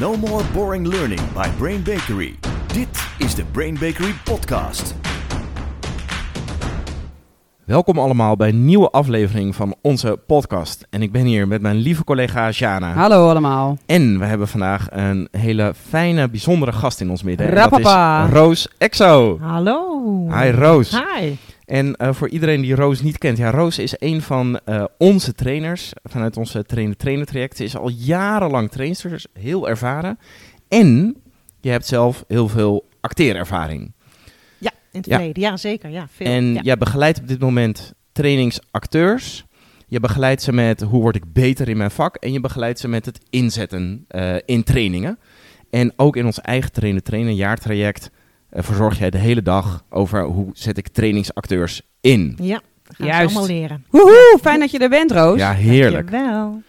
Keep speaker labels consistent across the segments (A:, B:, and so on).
A: No more boring learning by Brain Bakery. Dit is de Brain Bakery podcast.
B: Welkom allemaal bij een nieuwe aflevering van onze podcast. En ik ben hier met mijn lieve collega Jana.
C: Hallo allemaal.
B: En we hebben vandaag een hele fijne, bijzondere gast in ons midden. En
C: Rapapa.
B: Dat is Roos Exo.
D: Hallo.
B: Hi Roos.
D: Hi.
B: En eh, voor iedereen die Roos niet kent, ja, Roos is een van eh, onze trainers vanuit onze trainer-trainer traject. Ze is al jarenlang trainster, dus heel ervaren. En je hebt zelf heel veel acteerervaring.
D: Ja, in het
B: Ja.
D: verleden. Ja, zeker. Ja, veel.
B: En
D: ja.
B: jij begeleidt op dit moment trainingsacteurs. Je begeleidt ze met hoe word ik beter in mijn vak. En je begeleidt ze met het inzetten eh, in trainingen. En ook in ons eigen trainen trainen jaartraject eh, verzorg jij de hele dag over hoe zet ik trainingsacteurs in.
D: Ja, gaan ze
C: Juist.
D: allemaal leren.
C: Woehoe, fijn dat je er bent, Roos.
B: Ja, heerlijk.
D: Dankjewel.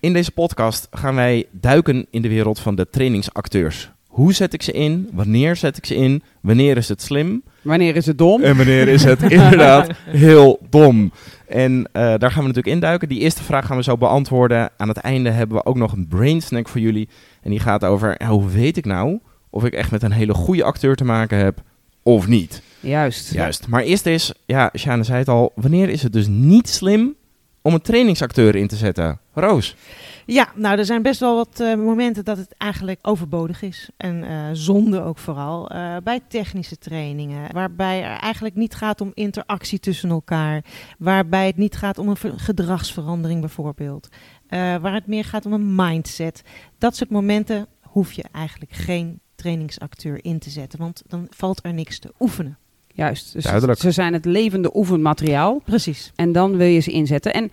B: In deze podcast gaan wij duiken in de wereld van de trainingsacteurs. Hoe zet ik ze in? Wanneer zet ik ze in? Wanneer is het slim?
C: Wanneer is het dom?
B: En wanneer is het inderdaad heel dom? En eh, daar gaan we natuurlijk induiken. Die eerste vraag gaan we zo beantwoorden. Aan het einde hebben we ook nog een brain snack voor jullie. En die gaat over, ja, hoe weet ik nou of ik echt met een hele goede acteur te maken heb of niet?
C: Juist.
B: Juist. Maar eerst is, ja, Sjane zei het al, wanneer is het dus niet slim om een trainingsacteur in te zetten? Roos.
D: Ja, nou, er zijn best wel wat eh, momenten dat het eigenlijk overbodig is. En eh, zonde ook vooral. eh, bij technische trainingen. Waarbij er eigenlijk niet gaat om interactie tussen elkaar. Waarbij het niet gaat om een ver- gedragsverandering bijvoorbeeld. Eh, waar het meer gaat om een mindset. Dat soort momenten hoef je eigenlijk geen trainingsacteur in te zetten. Want dan valt er niks te oefenen.
C: Juist. Dus
B: Duidelijk.
C: Ze zijn het levende oefenmateriaal
D: Precies.
C: en dan wil je ze inzetten. En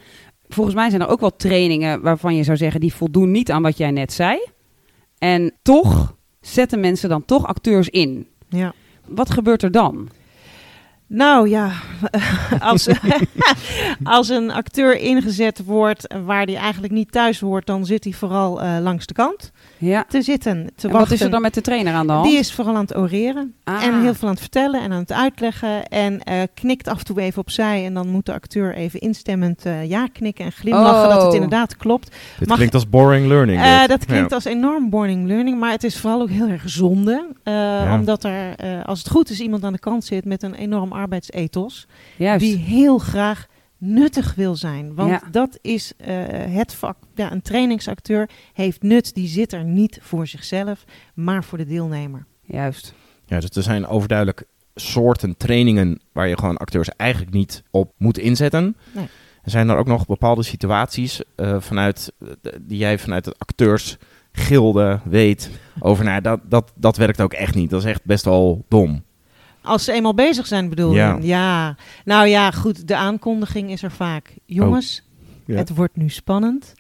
C: volgens mij zijn er ook wel trainingen waarvan je zou zeggen die voldoen niet aan wat jij net zei. En toch zetten mensen dan toch acteurs in.
D: Ja.
C: Wat gebeurt er dan?
D: Nou ja, als, als een acteur ingezet wordt waar die eigenlijk niet thuis hoort, dan zit hij vooral eh, langs de kant
C: Ja.
D: te zitten, te
C: En
D: wachten.
C: wat is er dan met de trainer aan de hand?
D: Die is vooral aan het oreren
C: Ah,
D: en heel veel aan het vertellen en aan het uitleggen en eh, knikt af en toe even opzij en dan moet de acteur even instemmend eh, ja knikken en glimlachen dat
C: Oh.
D: het inderdaad klopt.
B: Dit
D: Mag-
B: klinkt als boring learning.
D: Eh,
B: dit.
D: dat klinkt
B: Ja.
D: als enorm boring learning, maar het is vooral ook heel erg zonde. eh,
B: Ja.
D: Omdat er, eh, als het goed is, iemand aan de kant zit met een enorm arbeidsethos.
C: Juist.
D: die heel graag nuttig wil zijn. Want
C: Ja.
D: dat is eh, het vak. Ja, een trainingsacteur heeft nut. Die zit er niet voor zichzelf, maar voor de deelnemer.
C: Juist.
B: Ja, dus er zijn overduidelijk soorten trainingen waar je gewoon acteurs eigenlijk niet op moet inzetten.
D: Nee.
B: Er zijn er ook nog bepaalde situaties eh, vanuit, eh, die jij vanuit het acteursgilde weet over. Nou, dat, dat, dat werkt ook echt niet. Dat is echt best wel dom.
D: Als ze eenmaal bezig zijn, bedoel je?
B: Ja.
D: ja. Nou ja, goed. De aankondiging is er vaak. Jongens,
B: Oh. Ja.
D: het wordt nu spannend.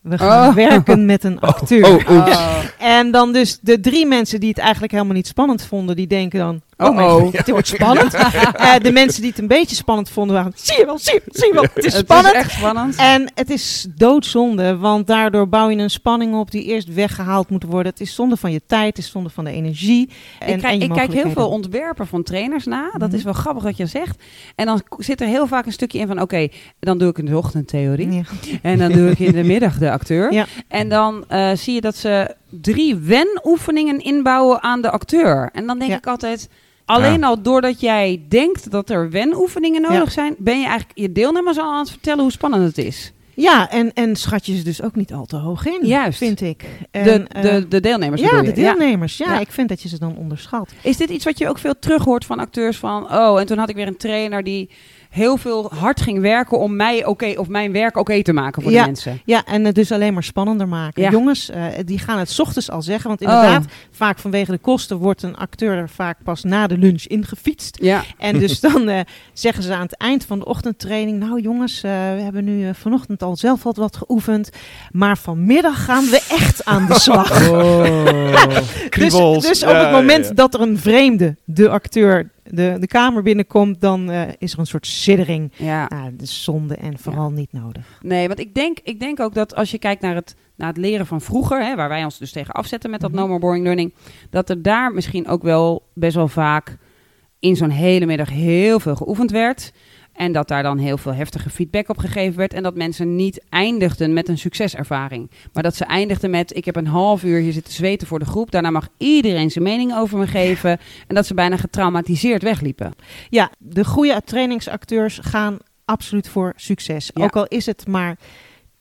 D: We gaan
C: Oh.
D: werken met een acteur.
B: Oh, oeps.
D: En dan dus de drie mensen die het eigenlijk helemaal niet spannend vonden, die denken dan... Oh,
C: Oh,
D: mijn
C: oh.
D: god, dit wordt spannend. Eh, de mensen die het een beetje spannend vonden waren... Zie je wel, zie je, zie je wel, het is
C: Het
D: spannend.
C: is echt spannend.
D: En het is doodzonde, want daardoor bouw je een spanning op die eerst weggehaald moet worden. Het is zonde van je tijd, het is zonde van de energie. En,
C: ik, kijk,
D: en je
C: ik kijk heel veel
D: mogelijkheden.
C: ontwerpen van trainers na. Dat
D: Mhm.
C: is wel grappig wat je zegt. En dan k- zit er heel vaak een stukje in van... oké, dan doe ik in de ochtendtheorie.
D: Ja.
C: En dan doe ik in de middag de acteur.
D: Ja.
C: En dan eh, zie je dat ze drie wenoefeningen inbouwen aan de acteur. En dan denk
D: Ja.
C: ik altijd... alleen al doordat jij denkt dat er wenoefeningen nodig
D: Ja.
C: zijn... ben je eigenlijk je deelnemers al aan het vertellen hoe spannend het is.
D: Ja, en, en schat je ze dus ook niet al te hoog in,
C: Juist.
D: vind ik. En,
C: de,
D: eh,
C: de, de deelnemers
D: ja,
C: bedoel
D: de
C: je?
D: deelnemers. Ja,
C: Ja.
D: ik vind dat je ze dan onderschat.
C: Is dit iets wat je ook veel terughoort van acteurs van... oh, en toen had ik weer een trainer die heel veel hard ging werken... om mij oké of mijn werk oké te maken voor
D: Ja.
C: de mensen.
D: Ja, en het dus alleen maar spannender maken.
C: Ja.
D: Jongens, eh, die gaan het 's ochtends al zeggen. Want
C: Oh.
D: inderdaad, vaak vanwege de kosten wordt een acteur er vaak pas na de lunch ingefietst.
C: Ja,
D: En dus dan eh, zeggen ze aan het eind van de ochtendtraining: Nou jongens, eh, we hebben nu eh, vanochtend al zelf wat, wat geoefend. Maar vanmiddag gaan we echt aan de slag. dus,
B: Oh. Kriebels.
D: dus op
B: Ja,
D: het moment
B: ja, ja.
D: dat er een vreemde, de acteur, de, de kamer binnenkomt, dan eh, is er een soort siddering.
C: ja.
D: Nou, dat is zonde en vooral niet nodig.
C: Nee, want ik denk, ik denk ook dat als je kijkt naar het, naar het leren van vroeger... Hè, waar wij ons dus tegen afzetten met dat
D: Mhm.
C: No More Boring Learning... dat er daar misschien ook wel best wel vaak in zo'n hele middag heel veel geoefend werd... En dat daar dan heel veel heftige feedback op gegeven werd. En dat mensen niet eindigden met een succeservaring. Maar dat ze eindigden met: Ik heb een half uur hier zitten zweten voor de groep. Daarna mag iedereen zijn mening over me geven. En dat ze bijna getraumatiseerd wegliepen.
D: Ja, de goede trainingsacteurs gaan absoluut voor succes.
C: Ja.
D: Ook al is het maar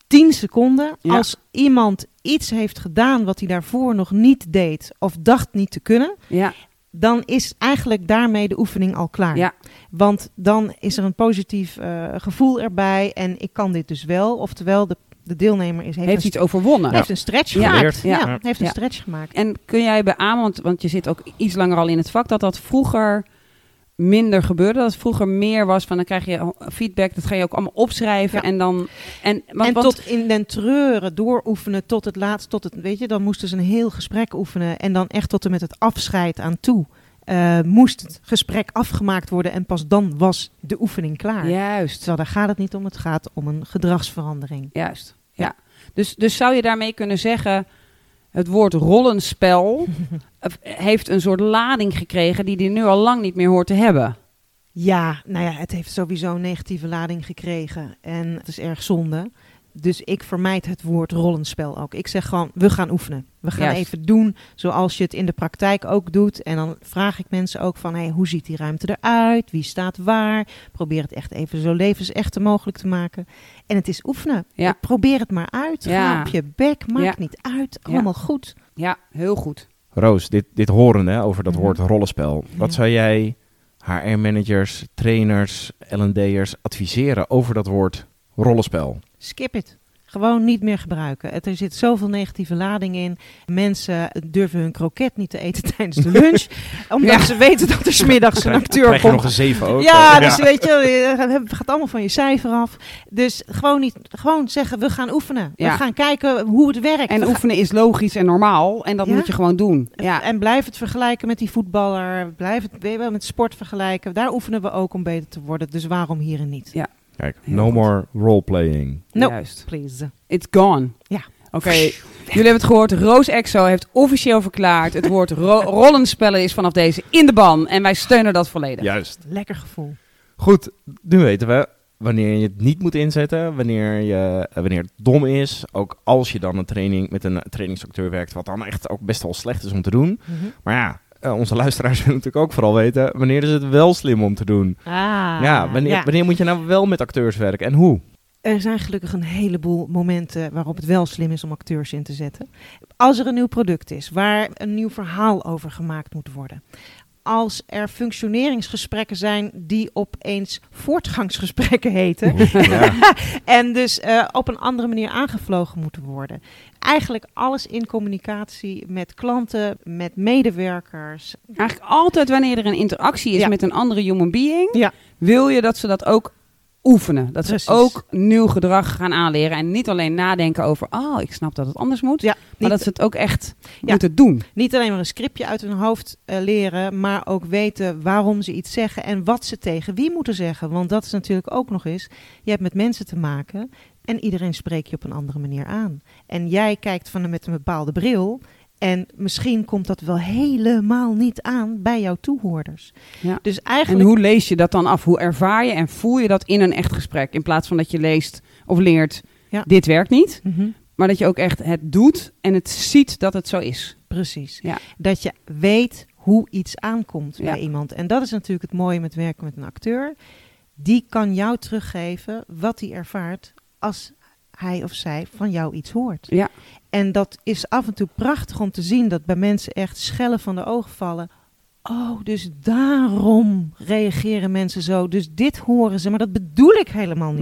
D: 10 seconden.
C: Ja.
D: Als iemand iets heeft gedaan wat hij daarvoor nog niet deed of dacht niet te kunnen,
C: Ja,
D: dan is eigenlijk daarmee de oefening al klaar.
C: ja,
D: Want dan is er een positief eh, gevoel erbij en ik kan dit dus wel. Oftewel, de, de deelnemer is, heeft,
C: heeft
D: een,
C: iets overwonnen.
D: heeft een stretch
C: Ja.
D: gemaakt.
C: Ja.
D: Ja. heeft een
C: Ja.
D: stretch gemaakt.
C: En kun jij beamen, want, want je zit ook iets langer al in het vak, dat dat vroeger minder gebeurde. Dat het vroeger meer was van dan krijg je feedback, dat ga je ook allemaal opschrijven.
D: Ja.
C: En dan. En, want,
D: en
C: want-
D: tot in den treuren dooroefenen tot het laatst, tot het, weet je, dan moesten ze een heel gesprek oefenen en dan echt tot en met het afscheid aan toe. eh, moest het gesprek afgemaakt worden en pas dan was de oefening klaar.
C: Juist.
D: Terwijl daar gaat het niet om, het gaat om een gedragsverandering.
C: Juist. Ja. Dus, dus zou je daarmee kunnen zeggen. Het woord rollenspel eh, heeft een soort lading gekregen die die nu al lang niet meer hoort te hebben.
D: Ja, nou ja, het heeft sowieso een negatieve lading gekregen en het is erg zonde. Dus ik vermijd het woord rollenspel ook. Ik zeg gewoon, we gaan oefenen. We gaan
C: Juist.
D: even doen zoals je het in de praktijk ook doet. En dan vraag ik mensen ook van, hey, hoe ziet die ruimte eruit? Wie staat waar? Probeer het echt even zo levensecht mogelijk te maken. En het is oefenen.
C: Ja.
D: Probeer het maar uit.
C: Ja.
D: Ga op je bek, maakt
C: Ja.
D: niet uit.
C: Ja.
D: Allemaal goed.
C: Ja, heel goed.
B: Roos, dit, dit horen hè, over dat
D: Mhm.
B: woord rollenspel. Wat
D: Ja.
B: zou jij HR-managers, trainers, L&D'ers adviseren over dat woord rollenspel?
D: Skip het. Gewoon niet meer gebruiken. Het, er zit zoveel negatieve lading in. Mensen durven hun kroket niet te eten tijdens de lunch. omdat
C: Ja.
D: ze weten dat er smiddags een acteur
B: Krijg je nog
D: komt.
B: een zeven ook? Oh,
D: Ja, dus weet je, eh, het gaat allemaal van je cijfer af. Dus gewoon, niet, gewoon zeggen, we gaan oefenen.
C: Ja.
D: We gaan kijken hoe het werkt. We
C: En
D: gaan-
C: oefenen is logisch en normaal en dat
D: Ja?
C: moet je gewoon doen. Ja.
D: En blijf het vergelijken met die voetballer. Blijf het weet je wel, met sport vergelijken. Daar oefenen we ook om beter te worden. Dus waarom hier en niet?
C: Ja.
B: Kijk,
C: Heel
B: no
C: goed.
B: more roleplaying.
D: No.
C: Juist.
D: Please.
C: It's gone.
D: Ja.
C: Oké, jullie hebben het gehoord. Roos Exo heeft officieel verklaard... het woord ro- rollenspellen is vanaf deze in de ban. En wij steunen dat volledig.
B: Juist.
D: Lekker gevoel.
B: Goed, nu weten we wanneer je het niet moet inzetten, wanneer, je, eh, wanneer het dom is. Ook als je dan een training met een eh, trainingsacteur werkt, wat dan echt ook best wel slecht is om te doen. Maar ja, eh, onze luisteraars willen natuurlijk ook vooral weten, wanneer is het wel slim om te doen?
D: Ah,
B: ja, wanneer, wanneer moet je nou wel met acteurs werken en hoe?
D: Er zijn gelukkig een heleboel momenten waarop het wel slim is om acteurs in te zetten. Als er een nieuw product is waar een nieuw verhaal over gemaakt moet worden. Als er functioneringsgesprekken zijn die opeens voortgangsgesprekken heten.
B: Ja.
D: en dus eh, op een andere manier aangevlogen moeten worden. Eigenlijk alles in communicatie met klanten, met medewerkers.
C: Eigenlijk altijd wanneer er een interactie is
D: Ja.
C: met een andere human being...
D: Ja.
C: wil je dat ze dat ook oefenen. Dat
D: Precies.
C: ze ook nieuw gedrag gaan aanleren. En niet alleen nadenken over... oh, ik snap dat het anders moet.
D: Ja,
C: maar
D: niet-
C: dat ze het ook echt
D: Ja.
C: moeten doen.
D: Niet alleen maar een scriptje uit hun hoofd eh, leren, maar ook weten waarom ze iets zeggen en wat ze tegen wie moeten zeggen. Want dat is natuurlijk ook nog eens, je hebt met mensen te maken en iedereen spreekt je op een andere manier aan. En jij kijkt van een- met een bepaalde bril en misschien komt dat wel helemaal niet aan bij jouw toehoorders.
C: Ja.
D: Dus
C: En
D: eigenlijk...
C: hoe lees je dat dan af? Hoe ervaar je en voel je dat in een echt gesprek? In plaats van dat je leest of leert...
D: Ja.
C: dit werkt niet...
D: Mhm.
C: Maar dat je ook echt het doet en het ziet dat het zo is.
D: Precies.
C: Ja.
D: Dat je weet hoe iets aankomt
C: Ja.
D: bij iemand. En dat is natuurlijk het mooie met werken met een acteur. Die kan jou teruggeven wat hij ervaart als hij of zij van jou iets hoort.
C: Ja.
D: En dat is af en toe prachtig om te zien dat bij mensen echt schellen van de ogen vallen. Oh, dus daarom reageren mensen zo. Dus dit horen ze, maar dat bedoel ik helemaal niet.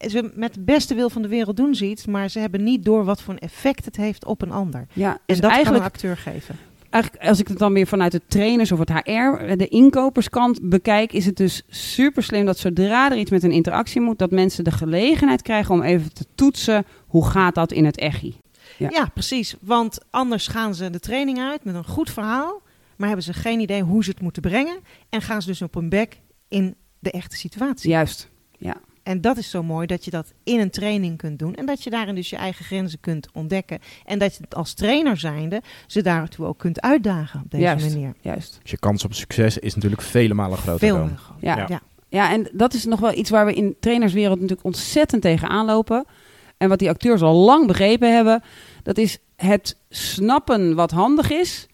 C: Nee.
D: Ze met de beste wil van de wereld doen ze iets, maar ze hebben niet door wat voor een effect het heeft op een ander.
C: Ja,
D: En
C: dus
D: dat
C: eigenlijk,
D: kan een acteur geven.
C: eigenlijk, als ik het dan weer vanuit de trainers of het HR, de inkoperskant bekijk, is het dus super slim dat zodra er iets met een interactie moet, dat mensen de gelegenheid krijgen om even te toetsen hoe gaat dat in het echi. Ja.
D: Ja. precies. Want anders gaan ze de training uit met een goed verhaal, maar hebben ze geen idee hoe ze het moeten brengen. En gaan ze dus op hun bek in de echte situatie.
C: Juist.
D: En dat is zo mooi dat je dat in een training kunt doen. En dat je daarin dus je eigen grenzen kunt ontdekken. En dat je het als trainer zijnde ze daartoe ook kunt uitdagen op deze
C: Juist.
D: manier.
C: Juist.
B: Dus je kans op succes is natuurlijk vele malen groter
D: Veel
B: dan.
D: meer gewoon.
C: Ja.
D: Ja.
C: Ja, en dat is nog wel iets waar we in trainerswereld natuurlijk ontzettend tegen aanlopen. En wat die acteurs al lang begrepen hebben, dat is het snappen wat handig is,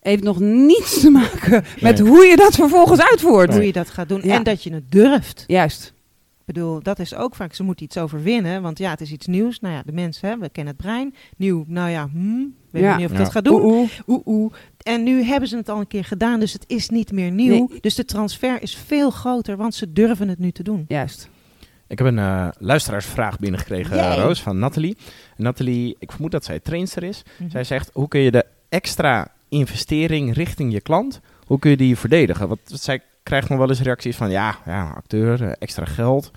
C: heeft nog niets te maken met
B: Nee.
C: hoe je dat vervolgens uitvoert.
D: Hoe je dat gaat doen
C: Ja.
D: en dat je het durft.
C: Juist.
D: Ik bedoel, dat is ook vaak, ze moeten iets overwinnen, want ja, het is iets nieuws. Nou ja, de mensen, hè, we kennen het brein. Nieuw, nou ja, hmm, weet
C: Ja.
D: ik niet of ik
B: Ja.
D: dat ga doen.
C: Oeh, oeh.
D: Oeh, oeh. En nu hebben ze het al een keer gedaan, dus het is niet meer nieuw. Dus de transfer is veel groter, want ze durven het nu te doen.
C: Juist.
B: Ik heb een eh, luisteraarsvraag binnengekregen,
D: Yay.
B: Roos, van Nathalie. En Nathalie, ik vermoed dat zij trainster is.
D: Mhm.
B: Zij zegt, hoe kun je de extra investering richting je klant, hoe kun je die verdedigen? Want zij krijgt nog wel eens reacties van, ja, ja acteur, eh, extra geld.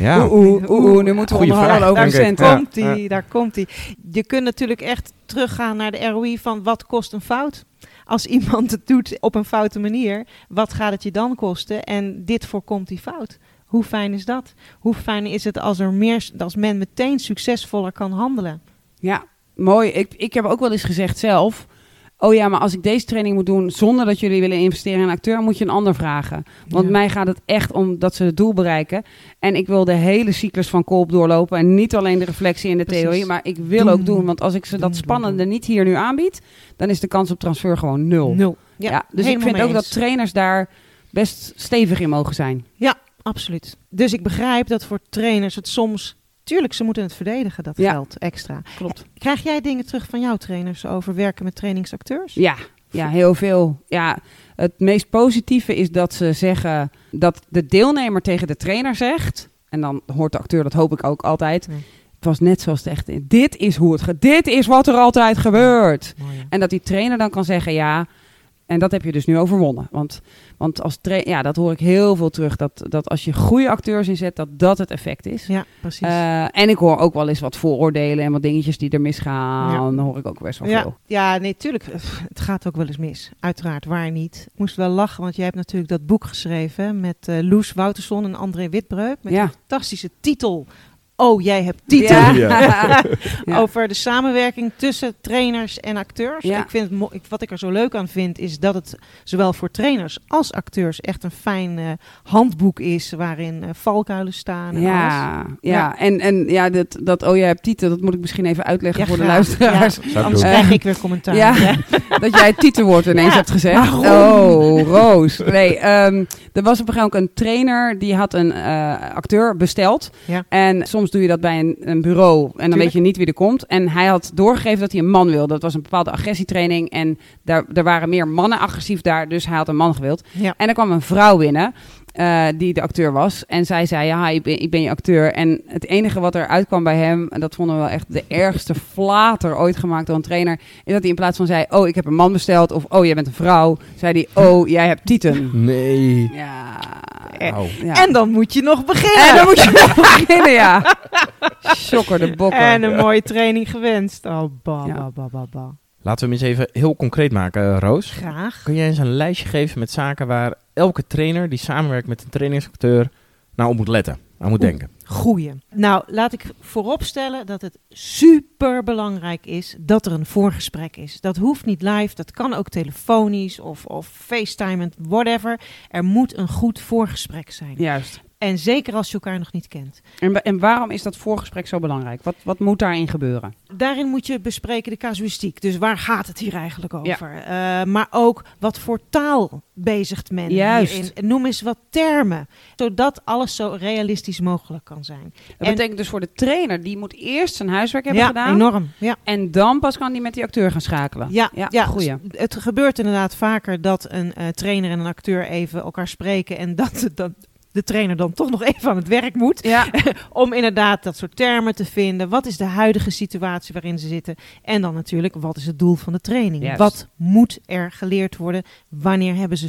B: Ja,
C: Oeh, oeh, oeh, oeh, nu moeten we
B: Goeie
C: onderhandelen
B: vraag,
C: over
B: dank ik.
C: centen.
B: Ja.
D: Komt ie, daar komt ie. Je kunt natuurlijk echt teruggaan naar de ROI van wat kost een fout. Als iemand het doet op een foute manier, wat gaat het je dan kosten? En dit voorkomt die fout. Hoe fijn is dat? Hoe fijn is het als, er meer, als men meteen succesvoller kan handelen?
C: Ja, mooi. Ik, ik heb ook wel eens gezegd zelf. Oh ja, maar als ik deze training moet doen zonder dat jullie willen investeren in een acteur, moet je een ander vragen. Want
D: Ja.
C: mij gaat het echt om dat ze het doel bereiken. En ik wil de hele cyclus van Kolp doorlopen. En niet alleen de reflectie en de
D: Precies.
C: theorie, maar ik wil
D: Doen.
C: ook doen. Want als ik ze
D: Doen,
C: dat
D: doen,
C: spannende
D: doen.
C: niet hier nu aanbied, dan is de kans op transfer gewoon nul.
D: Nul.
C: Ja,
D: Ja,
C: dus ik
D: helemaal
C: vind
D: mee
C: ook dat
D: eens.
C: trainers daar best stevig in mogen zijn.
D: Absoluut. Dus ik begrijp dat voor trainers het soms... Tuurlijk, ze moeten het verdedigen, dat
C: Ja.
D: geld extra. Eh,
C: Klopt.
D: Krijg jij dingen terug van jouw trainers over werken met trainingsacteurs?
C: Ja, ja, heel veel. Ja, het meest positieve is dat ze zeggen dat de deelnemer tegen de trainer zegt. En dan hoort de acteur, dat hoop ik ook altijd.
D: Nee.
C: Het was net zoals het echt is. Dit is hoe het gaat. Dit is wat er altijd gebeurt.
D: Mooi, hè?
C: En dat die trainer dan kan zeggen ja. En dat heb je dus nu overwonnen. Want, want als tra- ja, dat hoor ik heel veel terug. Dat, dat als je goede acteurs inzet, dat dat het effect is.
D: Ja, precies.
C: Eh, en ik hoor ook wel eens wat vooroordelen en wat dingetjes die er misgaan.
D: Ja.
C: Dan hoor ik ook best wel
D: Ja,
C: veel.
D: ja, nee, tuurlijk. Pff, Het gaat ook wel eens mis. Uiteraard, waar niet. Ik moest wel lachen, want jij hebt natuurlijk dat boek geschreven hè, met eh, Loes Wouterson en André Witbreuk. Met
C: ja.
D: een fantastische titel. Oh, jij hebt titel.
C: Ja. Ja. Ja.
D: Over de samenwerking tussen trainers en acteurs.
C: Ja.
D: Ik vind het mo- ik, wat ik er zo leuk aan vind, is dat het zowel voor trainers als acteurs echt een fijn eh, handboek is. Waarin eh, valkuilen staan en alles.
C: Ja, ja.
D: Ja.
C: En, en ja, dat, dat oh jij hebt titel, dat moet ik misschien even uitleggen
D: Ja,
C: voor de
D: graag.
C: luisteraars.
D: Ja, anders
C: doen.
D: krijg ik weer commentaar.
C: Ja, dat jij het titelwoord ineens
D: Ja,
C: hebt gezegd. Oh, Roos. Nee, ehm, er was op een gegeven moment een trainer die had een eh, acteur besteld.
D: Ja.
C: En soms doe je dat bij een, een bureau en dan weet je niet wie er komt. En hij had doorgegeven dat hij een man wilde. Dat was een bepaalde agressietraining en daar, er waren meer mannen agressief daar, dus hij had een man gewild.
D: Ja.
C: En er kwam een vrouw binnen, eh, die de acteur was. En zij zei, ja, hi, ik ben, ik ben je acteur. En het enige wat er uitkwam bij hem, en dat vonden we wel echt de ergste flater ooit gemaakt door een trainer, is dat hij in plaats van zei, oh, ik heb een man besteld, of oh, jij bent een vrouw, zei hij, oh, jij hebt tieten.
B: nee.
C: Ja.
B: Au.
C: ja.
D: En dan moet je nog beginnen.
C: En dan moet je nog beginnen, ja. Shocker de bokker.
D: En een mooie training gewenst. Oh, ba,
C: Ja.
D: ba, ba, ba, ba.
B: Laten we hem eens even heel concreet maken, eh, Roos.
D: Graag.
B: Kun jij eens een lijstje geven met zaken waar elke trainer die samenwerkt met een trainingsacteur nou op moet letten, aan moet
D: Oeh.
B: denken?
D: Goeie. Nou, laat ik vooropstellen dat het super belangrijk is dat er een voorgesprek is. Dat hoeft niet live, dat kan ook telefonisch of, of facetimend, whatever. Er moet een goed voorgesprek zijn.
C: Juist.
D: En zeker als je elkaar nog niet kent.
C: En, wa- en waarom is dat voorgesprek zo belangrijk? Wat, wat moet daarin gebeuren?
D: Daarin moet je bespreken de casuïstiek. Dus waar gaat het hier eigenlijk over? Eh, maar ook wat voor taal bezigt men
C: Juist.
D: hierin? Noem eens wat termen. Zodat alles zo realistisch mogelijk kan zijn.
C: Dat
D: En-
C: betekent dus voor de trainer, die moet eerst zijn huiswerk hebben
D: ja,
C: gedaan.
D: enorm. Ja.
C: En dan pas kan hij met die acteur gaan schakelen.
D: Ja,
C: ja,
D: ja,
C: goeie.
D: s- het gebeurt inderdaad vaker dat een eh, trainer en een acteur even elkaar spreken en dat, dat de trainer dan toch nog even aan het werk moet.
C: Ja,
D: Om inderdaad dat soort termen te vinden. Wat is de huidige situatie waarin ze zitten? En dan natuurlijk, wat is het doel van de training?
C: Juist.
D: Wat moet er geleerd worden? Wanneer hebben ze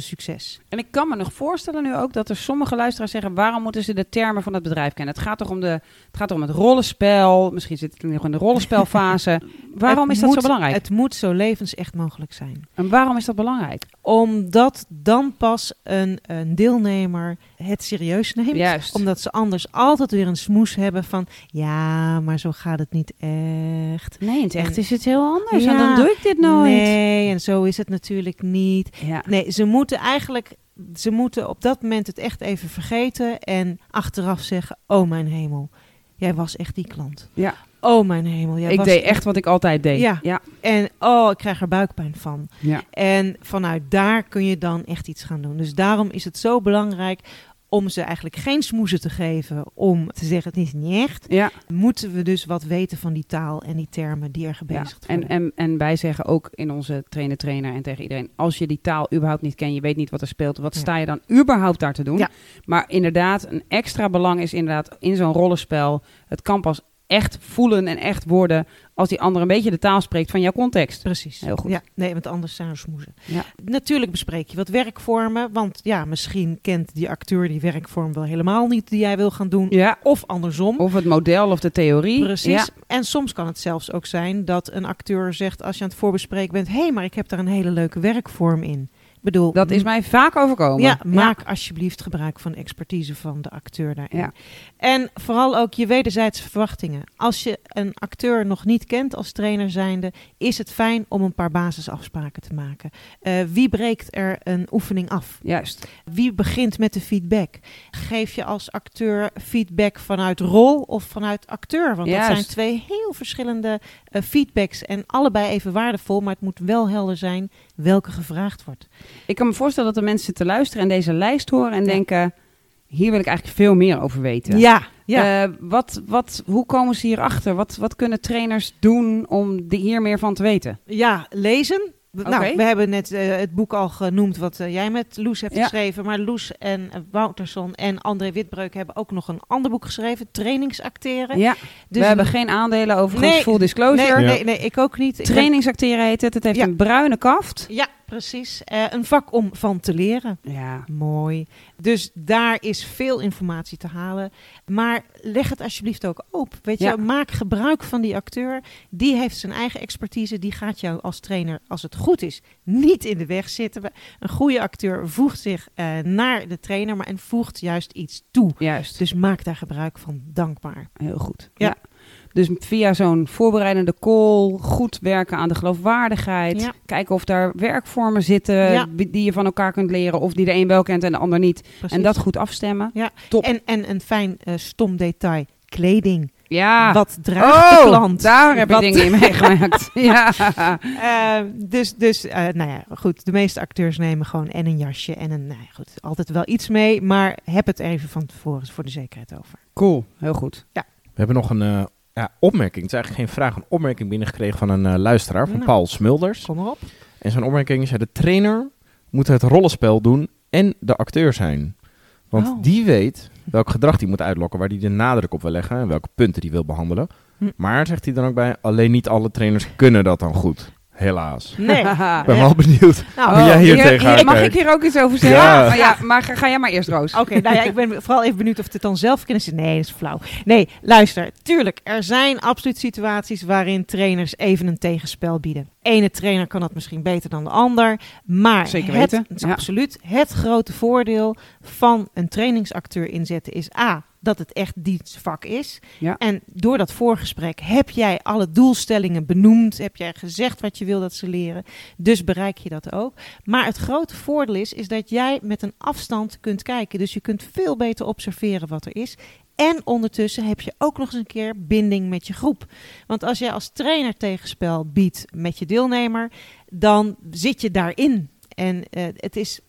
D: succes?
C: en ik kan me nog voorstellen nu ook dat er sommige luisteraars zeggen: waarom moeten ze de termen van het bedrijf kennen? Het gaat toch om, de, het, gaat toch om het rollenspel. Misschien zit het nog in de rollenspelfase. waarom
D: Het
C: is dat
D: moet-
C: zo belangrijk?
D: Het moet zo levensecht mogelijk zijn.
C: En waarom is dat belangrijk?
D: Omdat dan pas een, een deelnemer het serieus neemt.
C: Juist.
D: Omdat ze anders altijd weer een smoes hebben van... ja, maar zo gaat het niet echt.
C: Nee, in het
D: echt
C: is het heel anders.
D: En dan doe
C: ik dit
D: Nee, en zo is het natuurlijk niet.
C: Ja.
D: Nee, ze moeten eigenlijk ze moeten op dat moment het echt even vergeten en achteraf zeggen: Oh mijn hemel, jij was echt die klant.
C: Ja.
D: Oh mijn hemel, jij
C: ik
D: was
C: deed e- echt wat ik altijd deed.
D: Ja.
C: Ja.
D: En oh, ik krijg er buikpijn van.
C: Ja.
D: En vanuit daar kun je dan echt iets gaan doen. Dus daarom is het zo belangrijk om ze eigenlijk geen smoezen te geven. Om te zeggen, het is niet echt.
C: ja.
D: Moeten we dus wat weten van die taal en die termen die er gebezigd
C: Ja, En,
D: worden.
C: en, en wij zeggen ook in onze trainer, trainer en tegen iedereen: als je die taal überhaupt niet kent, je weet niet wat er speelt, wat
D: Ja.
C: sta je dan überhaupt daar te doen?
D: Ja.
C: Maar inderdaad, een extra belang is inderdaad in zo'n rollenspel: het kan pas echt voelen en echt worden als die ander een beetje de taal spreekt van jouw context.
D: Precies.
C: Heel goed.
D: Ja, nee, want anders zijn er smoezen.
C: Ja.
D: Natuurlijk bespreek je wat werkvormen. Want ja, misschien kent die acteur die werkvorm wel helemaal niet die jij wil gaan doen.
C: Ja.
D: Of andersom.
C: Of het model of de theorie.
D: Precies.
C: Ja.
D: En soms kan het zelfs ook zijn dat een acteur zegt als je aan het voorbespreken bent: hé, hey, maar ik heb daar een hele leuke werkvorm in. Ik bedoel,
C: Dat is mij vaak overkomen.
D: ja, maak alsjeblieft gebruik van de expertise van de acteur daarin.
C: Ja.
D: En vooral ook je wederzijdse verwachtingen. Als je een acteur nog niet kent als trainer zijnde, is het fijn om een paar basisafspraken te maken. Eh, wie breekt er een oefening af?
C: Juist.
D: Wie begint met de feedback? Geef je als acteur feedback vanuit rol of vanuit acteur? Want
C: Juist.
D: dat zijn twee heel verschillende eh, feedbacks. En allebei even waardevol, maar het moet wel helder zijn welke gevraagd wordt.
C: Ik kan me voorstellen dat de mensen te luisteren en deze lijst horen en
D: Ja.
C: denken: hier wil ik eigenlijk veel meer over weten.
D: ja.
C: Eh, wat, wat, hoe komen ze hierachter? Wat, wat kunnen trainers doen om de- hier meer van te weten?
D: Eh, Ja, lezen. W-
C: Oké.
D: Nou, we hebben net eh, het boek al genoemd wat eh, jij met Loes hebt
C: Ja.
D: geschreven. Maar Loes en eh, Wouterson en André Witbreuk hebben ook nog een ander boek geschreven. Trainingsacteren.
C: Ja,
D: Dus
C: we hebben geen aandelen overigens,
D: Nee,
C: full
D: nee,
C: disclosure.
B: Ja.
D: nee, nee, ik ook niet. Ik ben-
C: Trainingsacteren heet het. Het heeft
D: Ja.
C: een bruine kaft.
D: Ja, precies. Eh, een vak om van te leren.
C: Ja,
D: Mooi. Dus daar is veel informatie te halen. Maar leg het alsjeblieft ook op. Weet
C: Ja.
D: je, maak gebruik van die acteur. Die heeft zijn eigen expertise. Die gaat jou als trainer, als het goed is, niet in de weg zitten. Een goede acteur voegt zich eh, naar de trainer, maar en voegt juist iets toe.
C: juist.
D: Dus maak daar gebruik van. Dankbaar.
C: Heel goed.
D: Ja.
C: Dus via zo'n voorbereidende call, goed werken aan de geloofwaardigheid.
D: Ja.
C: Kijken of daar werkvormen zitten
D: Ja.
C: die je van elkaar kunt leren. Of die de een wel kent en de ander niet.
D: Precies.
C: En dat goed afstemmen.
D: Ja.
C: Top.
D: En, en een fijn eh, stom detail. Kleding.
C: ja.
D: Wat draagt
C: Oh,
D: de klant?
C: daar heb ik
D: Wat-
C: dingen in meegemaakt. ja.
D: Eh, dus, dus eh, nou ja, goed. De meeste acteurs nemen gewoon en een jasje en een, nou ja, goed, altijd wel iets mee. Maar heb het even van tevoren voor de zekerheid over.
C: Cool, heel goed.
B: We hebben nog een eh, ja, opmerking. Het is eigenlijk geen vraag, een opmerking binnengekregen van een eh, luisteraar, van
D: Nou.
B: Paul Smulders.
D: Kom maar op.
B: En zijn opmerking zei, de trainer moet het rollenspel doen en de acteur zijn. Want
D: Oh.
B: die weet welk gedrag die moet uitlokken, waar die de nadruk op wil leggen en welke punten die wil behandelen.
D: Hm.
B: Maar, zegt hij dan ook bij, alleen niet alle trainers kunnen dat dan goed. Helaas.
D: Nee.
C: Haha.
B: Ik ben wel Oh, benieuwd.
D: Nou,
B: Hoe jij hier tegenaan
C: Mag ik
B: kijkt.
C: hier ook iets over zeggen?
B: Ja.
C: Maar, ja, maar ga, ga jij maar eerst, Roos.
D: Oké, nou ja, ik ben vooral even benieuwd of dit dan zelf kennis is. Nee, dat is flauw. Nee, luister. Tuurlijk, er zijn absoluut situaties waarin trainers even een tegenspel bieden. Ene trainer kan dat misschien beter dan de ander. Maar
C: Zeker
D: het,
C: weten,
D: het is
C: ja.
D: absoluut het grote voordeel van een trainingsacteur inzetten is A, dat het echt dienstvak is.
C: Ja.
D: En door dat voorgesprek heb jij alle doelstellingen benoemd. Heb jij gezegd wat je wil dat ze leren. Dus bereik je dat ook. Maar het grote voordeel is, is dat jij met een afstand kunt kijken. Dus je kunt veel beter observeren wat er is. En ondertussen heb je ook nog eens een keer binding met je groep. Want als jij als trainer tegenspel biedt met je deelnemer, dan zit je daarin. En eh, het is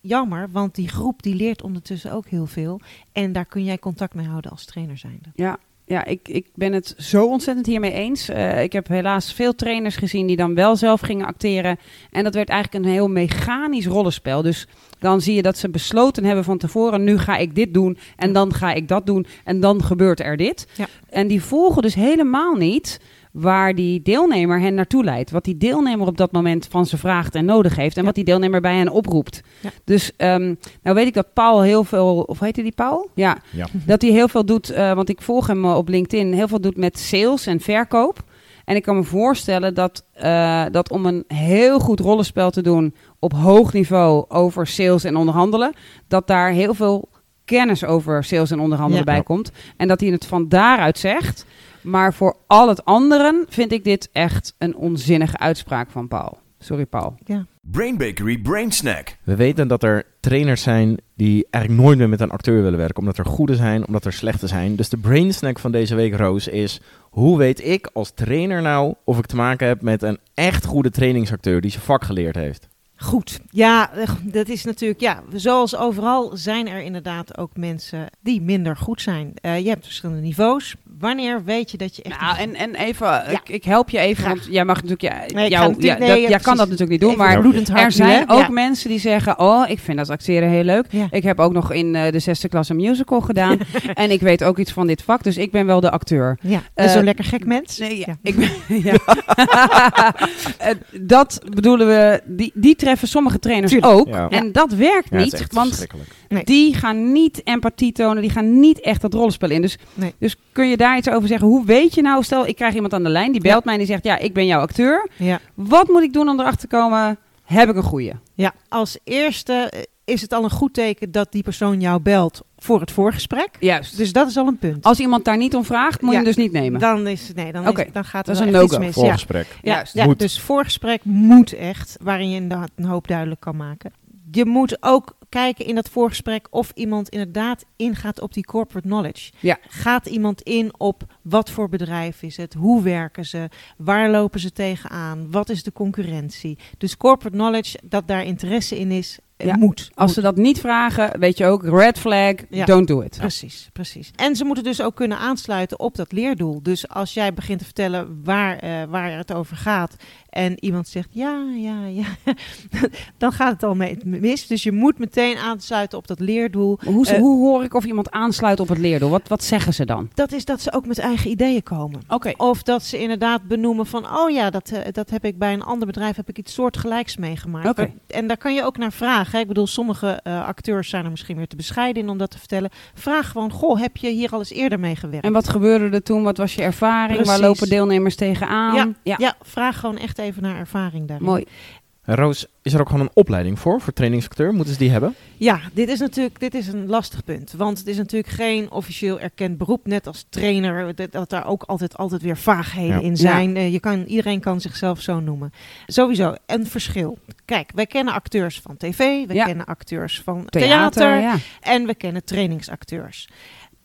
D: jammer, want die groep die leert ondertussen ook heel veel. En daar kun jij contact mee houden als trainer zijnde.
C: Ja, ja ik, ik ben het zo ontzettend hiermee eens. Eh, ik heb helaas veel trainers gezien die dan wel zelf gingen acteren. En dat werd eigenlijk een heel mechanisch rollenspel. Dus dan zie je dat ze besloten hebben van tevoren: nu ga ik dit doen. En dan ga ik dat doen. En dan gebeurt er dit.
D: Ja.
C: En die volgen dus helemaal niet waar die deelnemer hen naartoe leidt. Wat die deelnemer op dat moment van ze vraagt en nodig heeft. En
D: Ja.
C: wat die deelnemer bij hen oproept.
D: Ja.
C: Dus ehm, nou weet ik dat Paul heel veel... Of heette die Paul? Ja.
B: Ja.
C: Dat hij heel veel doet, eh, want ik volg hem eh, op LinkedIn... heel veel doet met sales en verkoop. En ik kan me voorstellen dat, eh, dat om een heel goed rollenspel te doen... op hoog niveau over sales en onderhandelen... dat daar heel veel kennis over sales en onderhandelen
D: Ja.
C: bij komt. En dat hij het van daaruit zegt... Maar voor al het anderen vind ik dit echt een onzinnige uitspraak van Paul. Sorry, Paul.
D: Ja.
A: Brain Bakery Brain Snack.
B: We weten dat er trainers zijn die eigenlijk nooit meer met een acteur willen werken. Omdat er goede zijn, omdat er slechte zijn. Dus de brain snack van deze week, Roos, is... Hoe weet ik als trainer nou of ik te maken heb met een echt goede trainingsacteur die zijn vak geleerd heeft?
D: Goed, ja, eh, dat is natuurlijk, ja, zoals overal zijn er inderdaad ook mensen die minder goed zijn. Eh, je hebt verschillende niveaus. Wanneer weet je dat je echt...
C: Nou,
D: een-
C: en, en even, ik, ik help je even,
D: Graag.
C: want jij mag natuurlijk, ja,
D: Nee, ik ga
C: jou,
D: natuurlijk-
C: ja,
D: nee,
C: dat- jij
D: ja,
C: kan
D: precies.
C: dat natuurlijk niet doen,
D: Even
C: maar
D: een bloedend hart
C: er
D: nu, hè?
C: zijn ook
D: Ja.
C: mensen die zeggen, oh, ik vind dat acteren heel leuk.
D: Ja.
C: Ik heb ook nog in eh, de zesde klas een musical gedaan en ik weet ook iets van dit vak, dus ik ben wel de acteur.
D: Ja,
C: Eh,
D: zo'n lekker gek mens.
C: Nee, ja.
D: Ja.
C: Ik ben, ja. Eh, dat bedoelen we, die, die treffen sommige trainers
D: Tuurlijk.
C: ook.
B: Ja.
C: En dat werkt
B: Ja, het is
C: niet,
B: echt
C: want
B: verschrikkelijk.
D: Nee.
C: die gaan niet empathie tonen, die gaan niet echt dat rollenspel in. Dus,
D: Nee.
C: dus kun je daar iets over zeggen? Hoe weet je nou, stel ik krijg iemand aan de lijn, die belt mij en die zegt, ja, ik ben jouw acteur.
D: Ja.
C: Wat moet ik doen om erachter te komen, heb ik een goeie?
D: Ja, als eerste eh, is het al een goed teken dat die persoon jou belt voor het voorgesprek.
C: Juist. Dus
D: Dus dat is al een punt.
C: als iemand daar niet om vraagt, moet
D: Ja.
C: je hem dus niet nemen.
D: Dan, is, nee, dan,
C: Oké,
D: is, dan gaat
C: dat
D: er
C: is
D: wel
C: een
D: echt iets
C: no-go.
D: mis. Ja.
B: Voorgesprek.
D: Ja,
C: Juist.
D: ja,
B: Moet.
D: dus voorgesprek moet echt, waarin je inderdaad een hoop duidelijk kan maken. Je moet ook kijken in dat voorgesprek of iemand inderdaad ingaat op die corporate knowledge.
C: Ja.
D: Gaat iemand in op wat voor bedrijf is het, hoe werken ze, waar lopen ze tegenaan, wat is de concurrentie. Dus corporate knowledge, dat daar interesse in is, eh,
C: Ja,
D: moet.
C: Als
D: Moet.
C: ze dat niet vragen, weet je ook, red flag,
D: Ja.
C: don't do it.
D: Precies, precies. En ze moeten dus ook kunnen aansluiten op dat leerdoel. Dus als jij begint te vertellen waar, eh, waar het over gaat en iemand zegt ja, ja, ja, dan gaat het al mee- mis. Dus je moet meteen aansluiten op dat leerdoel.
C: Hoe,
D: Eh,
C: hoe hoor ik of iemand aansluit op het leerdoel? Wat, wat zeggen ze dan?
D: Dat is dat ze ook met eigen ideeën komen.
C: Oké.
D: Of dat ze inderdaad benoemen van, oh ja, dat, eh, dat heb ik bij een ander bedrijf, heb ik iets soortgelijks meegemaakt.
C: Oké.
D: En daar kan je ook naar vragen. Hè. Ik bedoel, sommige eh, acteurs zijn er misschien weer te bescheiden in om dat te vertellen. Vraag gewoon, goh, heb je hier al eens eerder mee gewerkt?
C: En wat gebeurde er toen? Wat was je ervaring? Waar
D: Precies.
C: lopen deelnemers tegenaan?
D: Ja, ja. vraag gewoon echt even naar ervaring daarin.
C: mooi.
B: En Roos, is er ook gewoon een opleiding voor, voor trainingsacteur? Moeten ze die hebben?
D: Ja, dit is natuurlijk dit is een lastig punt. Want het is natuurlijk geen officieel erkend beroep. Net als trainer, dat, dat daar ook altijd, altijd weer vaagheden
B: Ja.
D: in zijn. Eh, je kan, iedereen kan zichzelf zo noemen. Sowieso, een verschil. Kijk, wij kennen acteurs van tv, wij
C: Ja.
D: kennen acteurs van
C: Theater,
D: theater
C: ja.
D: en we kennen trainingsacteurs.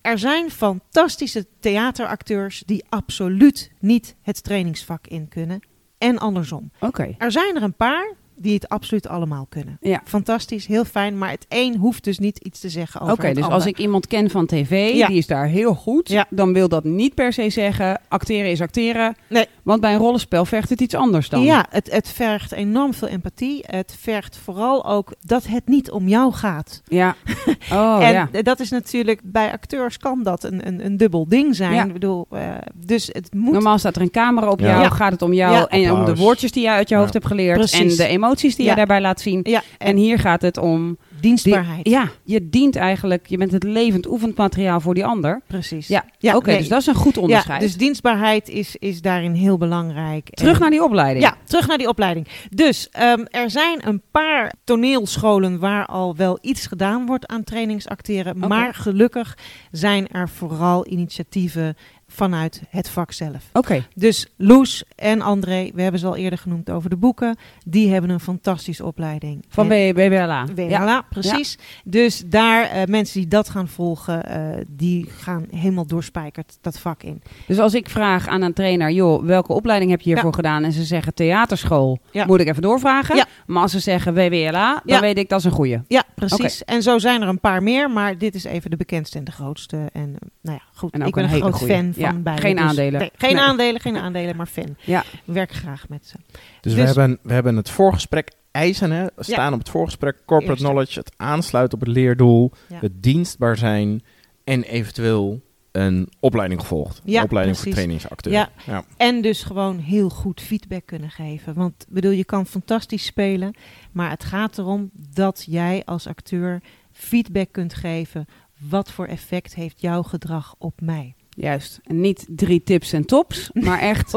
D: Er zijn fantastische theateracteurs die absoluut niet het trainingsvak in kunnen. En andersom.
C: Oké.
D: Er zijn er een paar die het absoluut allemaal kunnen.
C: Ja.
D: Fantastisch, heel fijn, maar het een hoeft dus niet iets te zeggen
C: Oké,
D: over het
C: dus
D: ander.
C: als ik iemand ken van tv,
D: Ja.
C: die is daar heel goed,
D: Ja.
C: dan wil dat niet per se zeggen acteren is acteren.
D: Nee.
C: Want bij een rollenspel vecht het iets anders dan.
D: Ja, het, het vergt enorm veel empathie. Het vergt vooral ook dat het niet om jou gaat.
C: Ja. Oh
D: en eh,
C: ja.
D: dat is natuurlijk, bij acteurs kan dat een, een, een dubbel ding zijn.
C: Ja.
D: Ik bedoel, eh, dus het moet...
C: Normaal staat er een camera op
B: Ja.
C: jou,
D: Ja.
C: gaat het om jou
D: Ja.
C: en om de
B: Applaus.
C: woordjes die je uit je
B: Ja.
C: hoofd hebt geleerd
D: Precies.
C: en de emoties die
D: Ja.
C: je daarbij laat zien.
D: ja,
C: En
D: en
C: hier gaat het om
D: dienstbaarheid.
C: Ja, je dient eigenlijk, je bent het levend oefenmateriaal voor die ander.
D: Precies.
C: Ja,
D: Ja,
C: oké,
D: nee.
C: dus dat is een goed
D: ja,
C: onderscheid.
D: dus dienstbaarheid is, is daarin heel belangrijk.
C: Terug
D: En-
C: naar die opleiding.
D: Ja, terug naar die opleiding. Dus ehm, er zijn een paar toneelscholen waar al wel iets gedaan wordt aan trainingsacteren.
C: Oké.
D: Maar gelukkig zijn er vooral initiatieven vanuit het vak zelf.
C: Oké,
D: Dus Loes en André, we hebben ze al eerder genoemd over de boeken, die hebben een fantastische opleiding.
C: van
D: En-
C: B- BBLA.
D: WLA,
C: Ja.
D: precies. Dus daar, eh, mensen die dat gaan volgen, eh, die gaan helemaal doorspijkerd dat vak in.
C: Dus als ik vraag aan een trainer, joh, welke opleiding heb je hiervoor gedaan? En ze zeggen theaterschool,
D: Ja.
C: moet ik even doorvragen.
D: Ja.
C: Maar als ze zeggen WWLA, dan
D: Ja.
C: weet ik dat is een goede.
D: Ja, precies. En zo zijn er een paar meer, maar dit is even de bekendste en de grootste. En eh, nou ja, goed,
C: En ook
D: ik ben
C: een
D: een,
C: hele
D: groot
C: goeie.
D: fan
C: Ja,
D: van beide.
C: geen
D: dus-
C: aandelen.
D: nee, geen
C: Nee.
D: aandelen, geen aandelen, maar fan.
C: Ja.
D: Ik Werk graag met ze.
B: Dus, we,
D: Dus-
B: hebben, we hebben het voorgesprek eisen, hè? staan op het voorgesprek, corporate
D: Eerste.
B: knowledge, het aansluiten op het leerdoel,
D: Ja.
B: het dienstbaar zijn en eventueel een opleiding gevolgd.
D: Ja,
B: een opleiding voor
D: precies.
B: trainingsacteur.
D: Ja.
B: Ja.
D: En dus gewoon heel goed feedback kunnen geven. Want ik bedoel, je kan fantastisch spelen, maar het gaat erom dat jij als acteur feedback kunt geven. Wat voor effect heeft jouw gedrag op mij?
C: Juist. En niet drie tips en tops, maar echt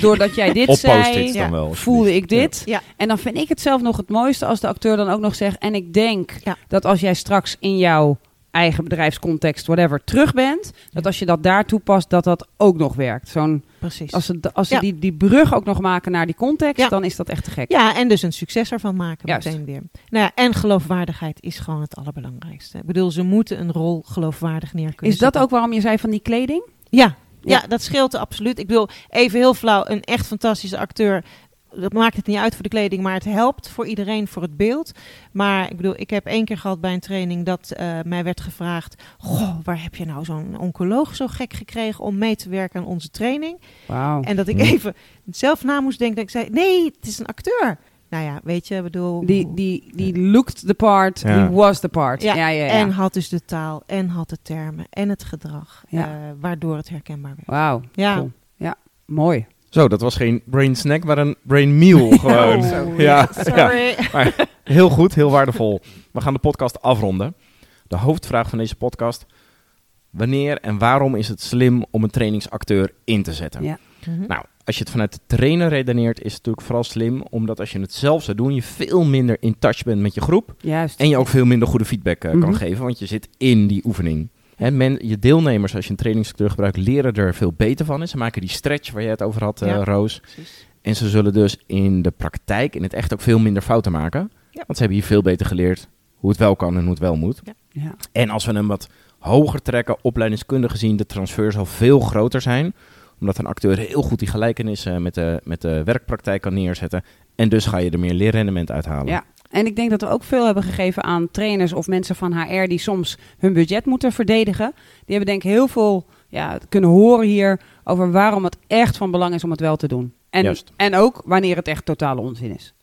C: doordat jij dit
B: Oppost
C: zei,
B: dit
D: ja,
B: dan wel.
C: voelde ik dit.
D: Ja.
C: En dan vind ik het zelf nog het mooiste als de acteur dan ook nog zegt. En ik denk
D: Ja.
C: dat als jij straks in jouw eigen bedrijfscontext, whatever, terug bent. Dat als je dat daar toepast, dat dat ook nog werkt. Zo'n,
D: Precies.
C: als ze, als ze
D: Ja.
C: die, die brug ook nog maken naar die context,
D: Ja.
C: dan is dat echt te gek.
D: Ja, en dus een succes ervan maken
C: Juist.
D: meteen weer. Nou ja, en geloofwaardigheid is gewoon het allerbelangrijkste. Ik bedoel, ze moeten een rol geloofwaardig neer kunnen
C: Is dat
D: zetten.
C: ook waarom je zei van die kleding?
D: Ja, ja.
C: Ja.
D: dat scheelt absoluut. Ik bedoel, even heel flauw, een echt fantastische acteur. Dat maakt het niet uit voor de kleding, maar het helpt voor iedereen voor het beeld. Maar ik bedoel, ik heb één keer gehad bij een training dat eh, mij werd gevraagd: Goh, waar heb je nou zo'n oncoloog zo gek gekregen om mee te werken aan onze training?
C: Wauw.
D: En dat ik
B: Hm.
D: even zelf na moest denken. Dat ik zei: Nee, het is een acteur. Nou ja, weet je, ik bedoel.
C: Die, die, die looked the part,
B: Ja.
C: die was the part.
D: Oh. Ja,
C: Ja, ja, ja.
D: En had dus de taal, en had de termen, en het gedrag,
C: Ja.
D: eh, waardoor het herkenbaar werd.
C: Wauw,
D: Ja,
C: Cool. mooi.
B: Zo, dat was geen brain snack, maar een brain meal gewoon. ja, ja.
D: Oh, sorry.
B: Heel goed, heel waardevol. We gaan de podcast afronden. De hoofdvraag van deze podcast. Wanneer en waarom is het slim om een trainingsacteur in te zetten?
C: Ja.
D: Mhm.
B: Nou, als je het vanuit de trainer redeneert, is het natuurlijk vooral slim. Omdat als je het zelf zou doen, je veel minder in touch bent met je groep.
C: Juist.
B: En je ook veel minder goede feedback eh,
C: Mhm.
B: kan geven, want je zit in die oefening. Hè, men, je deelnemers, als je een trainingsacteur gebruikt, leren er veel beter van. En ze maken die stretch waar jij het over had, eh,
D: Ja.
B: Roos.
D: Precies.
B: En ze zullen dus in de praktijk, in het echt ook veel minder fouten maken.
D: Ja.
B: Want ze hebben hier veel beter geleerd hoe het wel kan en hoe het wel moet.
C: Ja.
B: En als we hem wat hoger trekken, opleidingskundig gezien, de transfer zal veel groter zijn. Omdat een acteur heel goed die gelijkenis eh, met, de, met de werkpraktijk kan neerzetten. En dus ga je er meer leerrendement uithalen.
C: Ja. En ik denk dat we ook veel hebben gegeven aan trainers of mensen van HR die soms hun budget moeten verdedigen. Die hebben denk ik heel veel ja, kunnen horen hier over waarom het echt van belang is om het wel te doen. En,
B: Juist.
C: en ook wanneer het echt totale onzin is.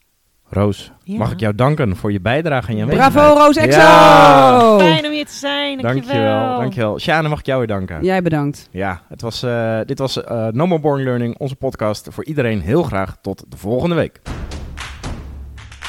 B: Roos,
D: Ja.
B: mag ik jou danken voor je bijdrage en je aanwezigheid.
C: Bravo Roos Exo!
B: Ja.
D: Fijn om hier te zijn.
B: Dankjewel, dankjewel. Sjane, mag ik jou weer danken?
C: Jij bedankt.
B: Ja, het was, eh, dit was eh No More Boring Learning, onze podcast. Voor iedereen heel graag tot de volgende week.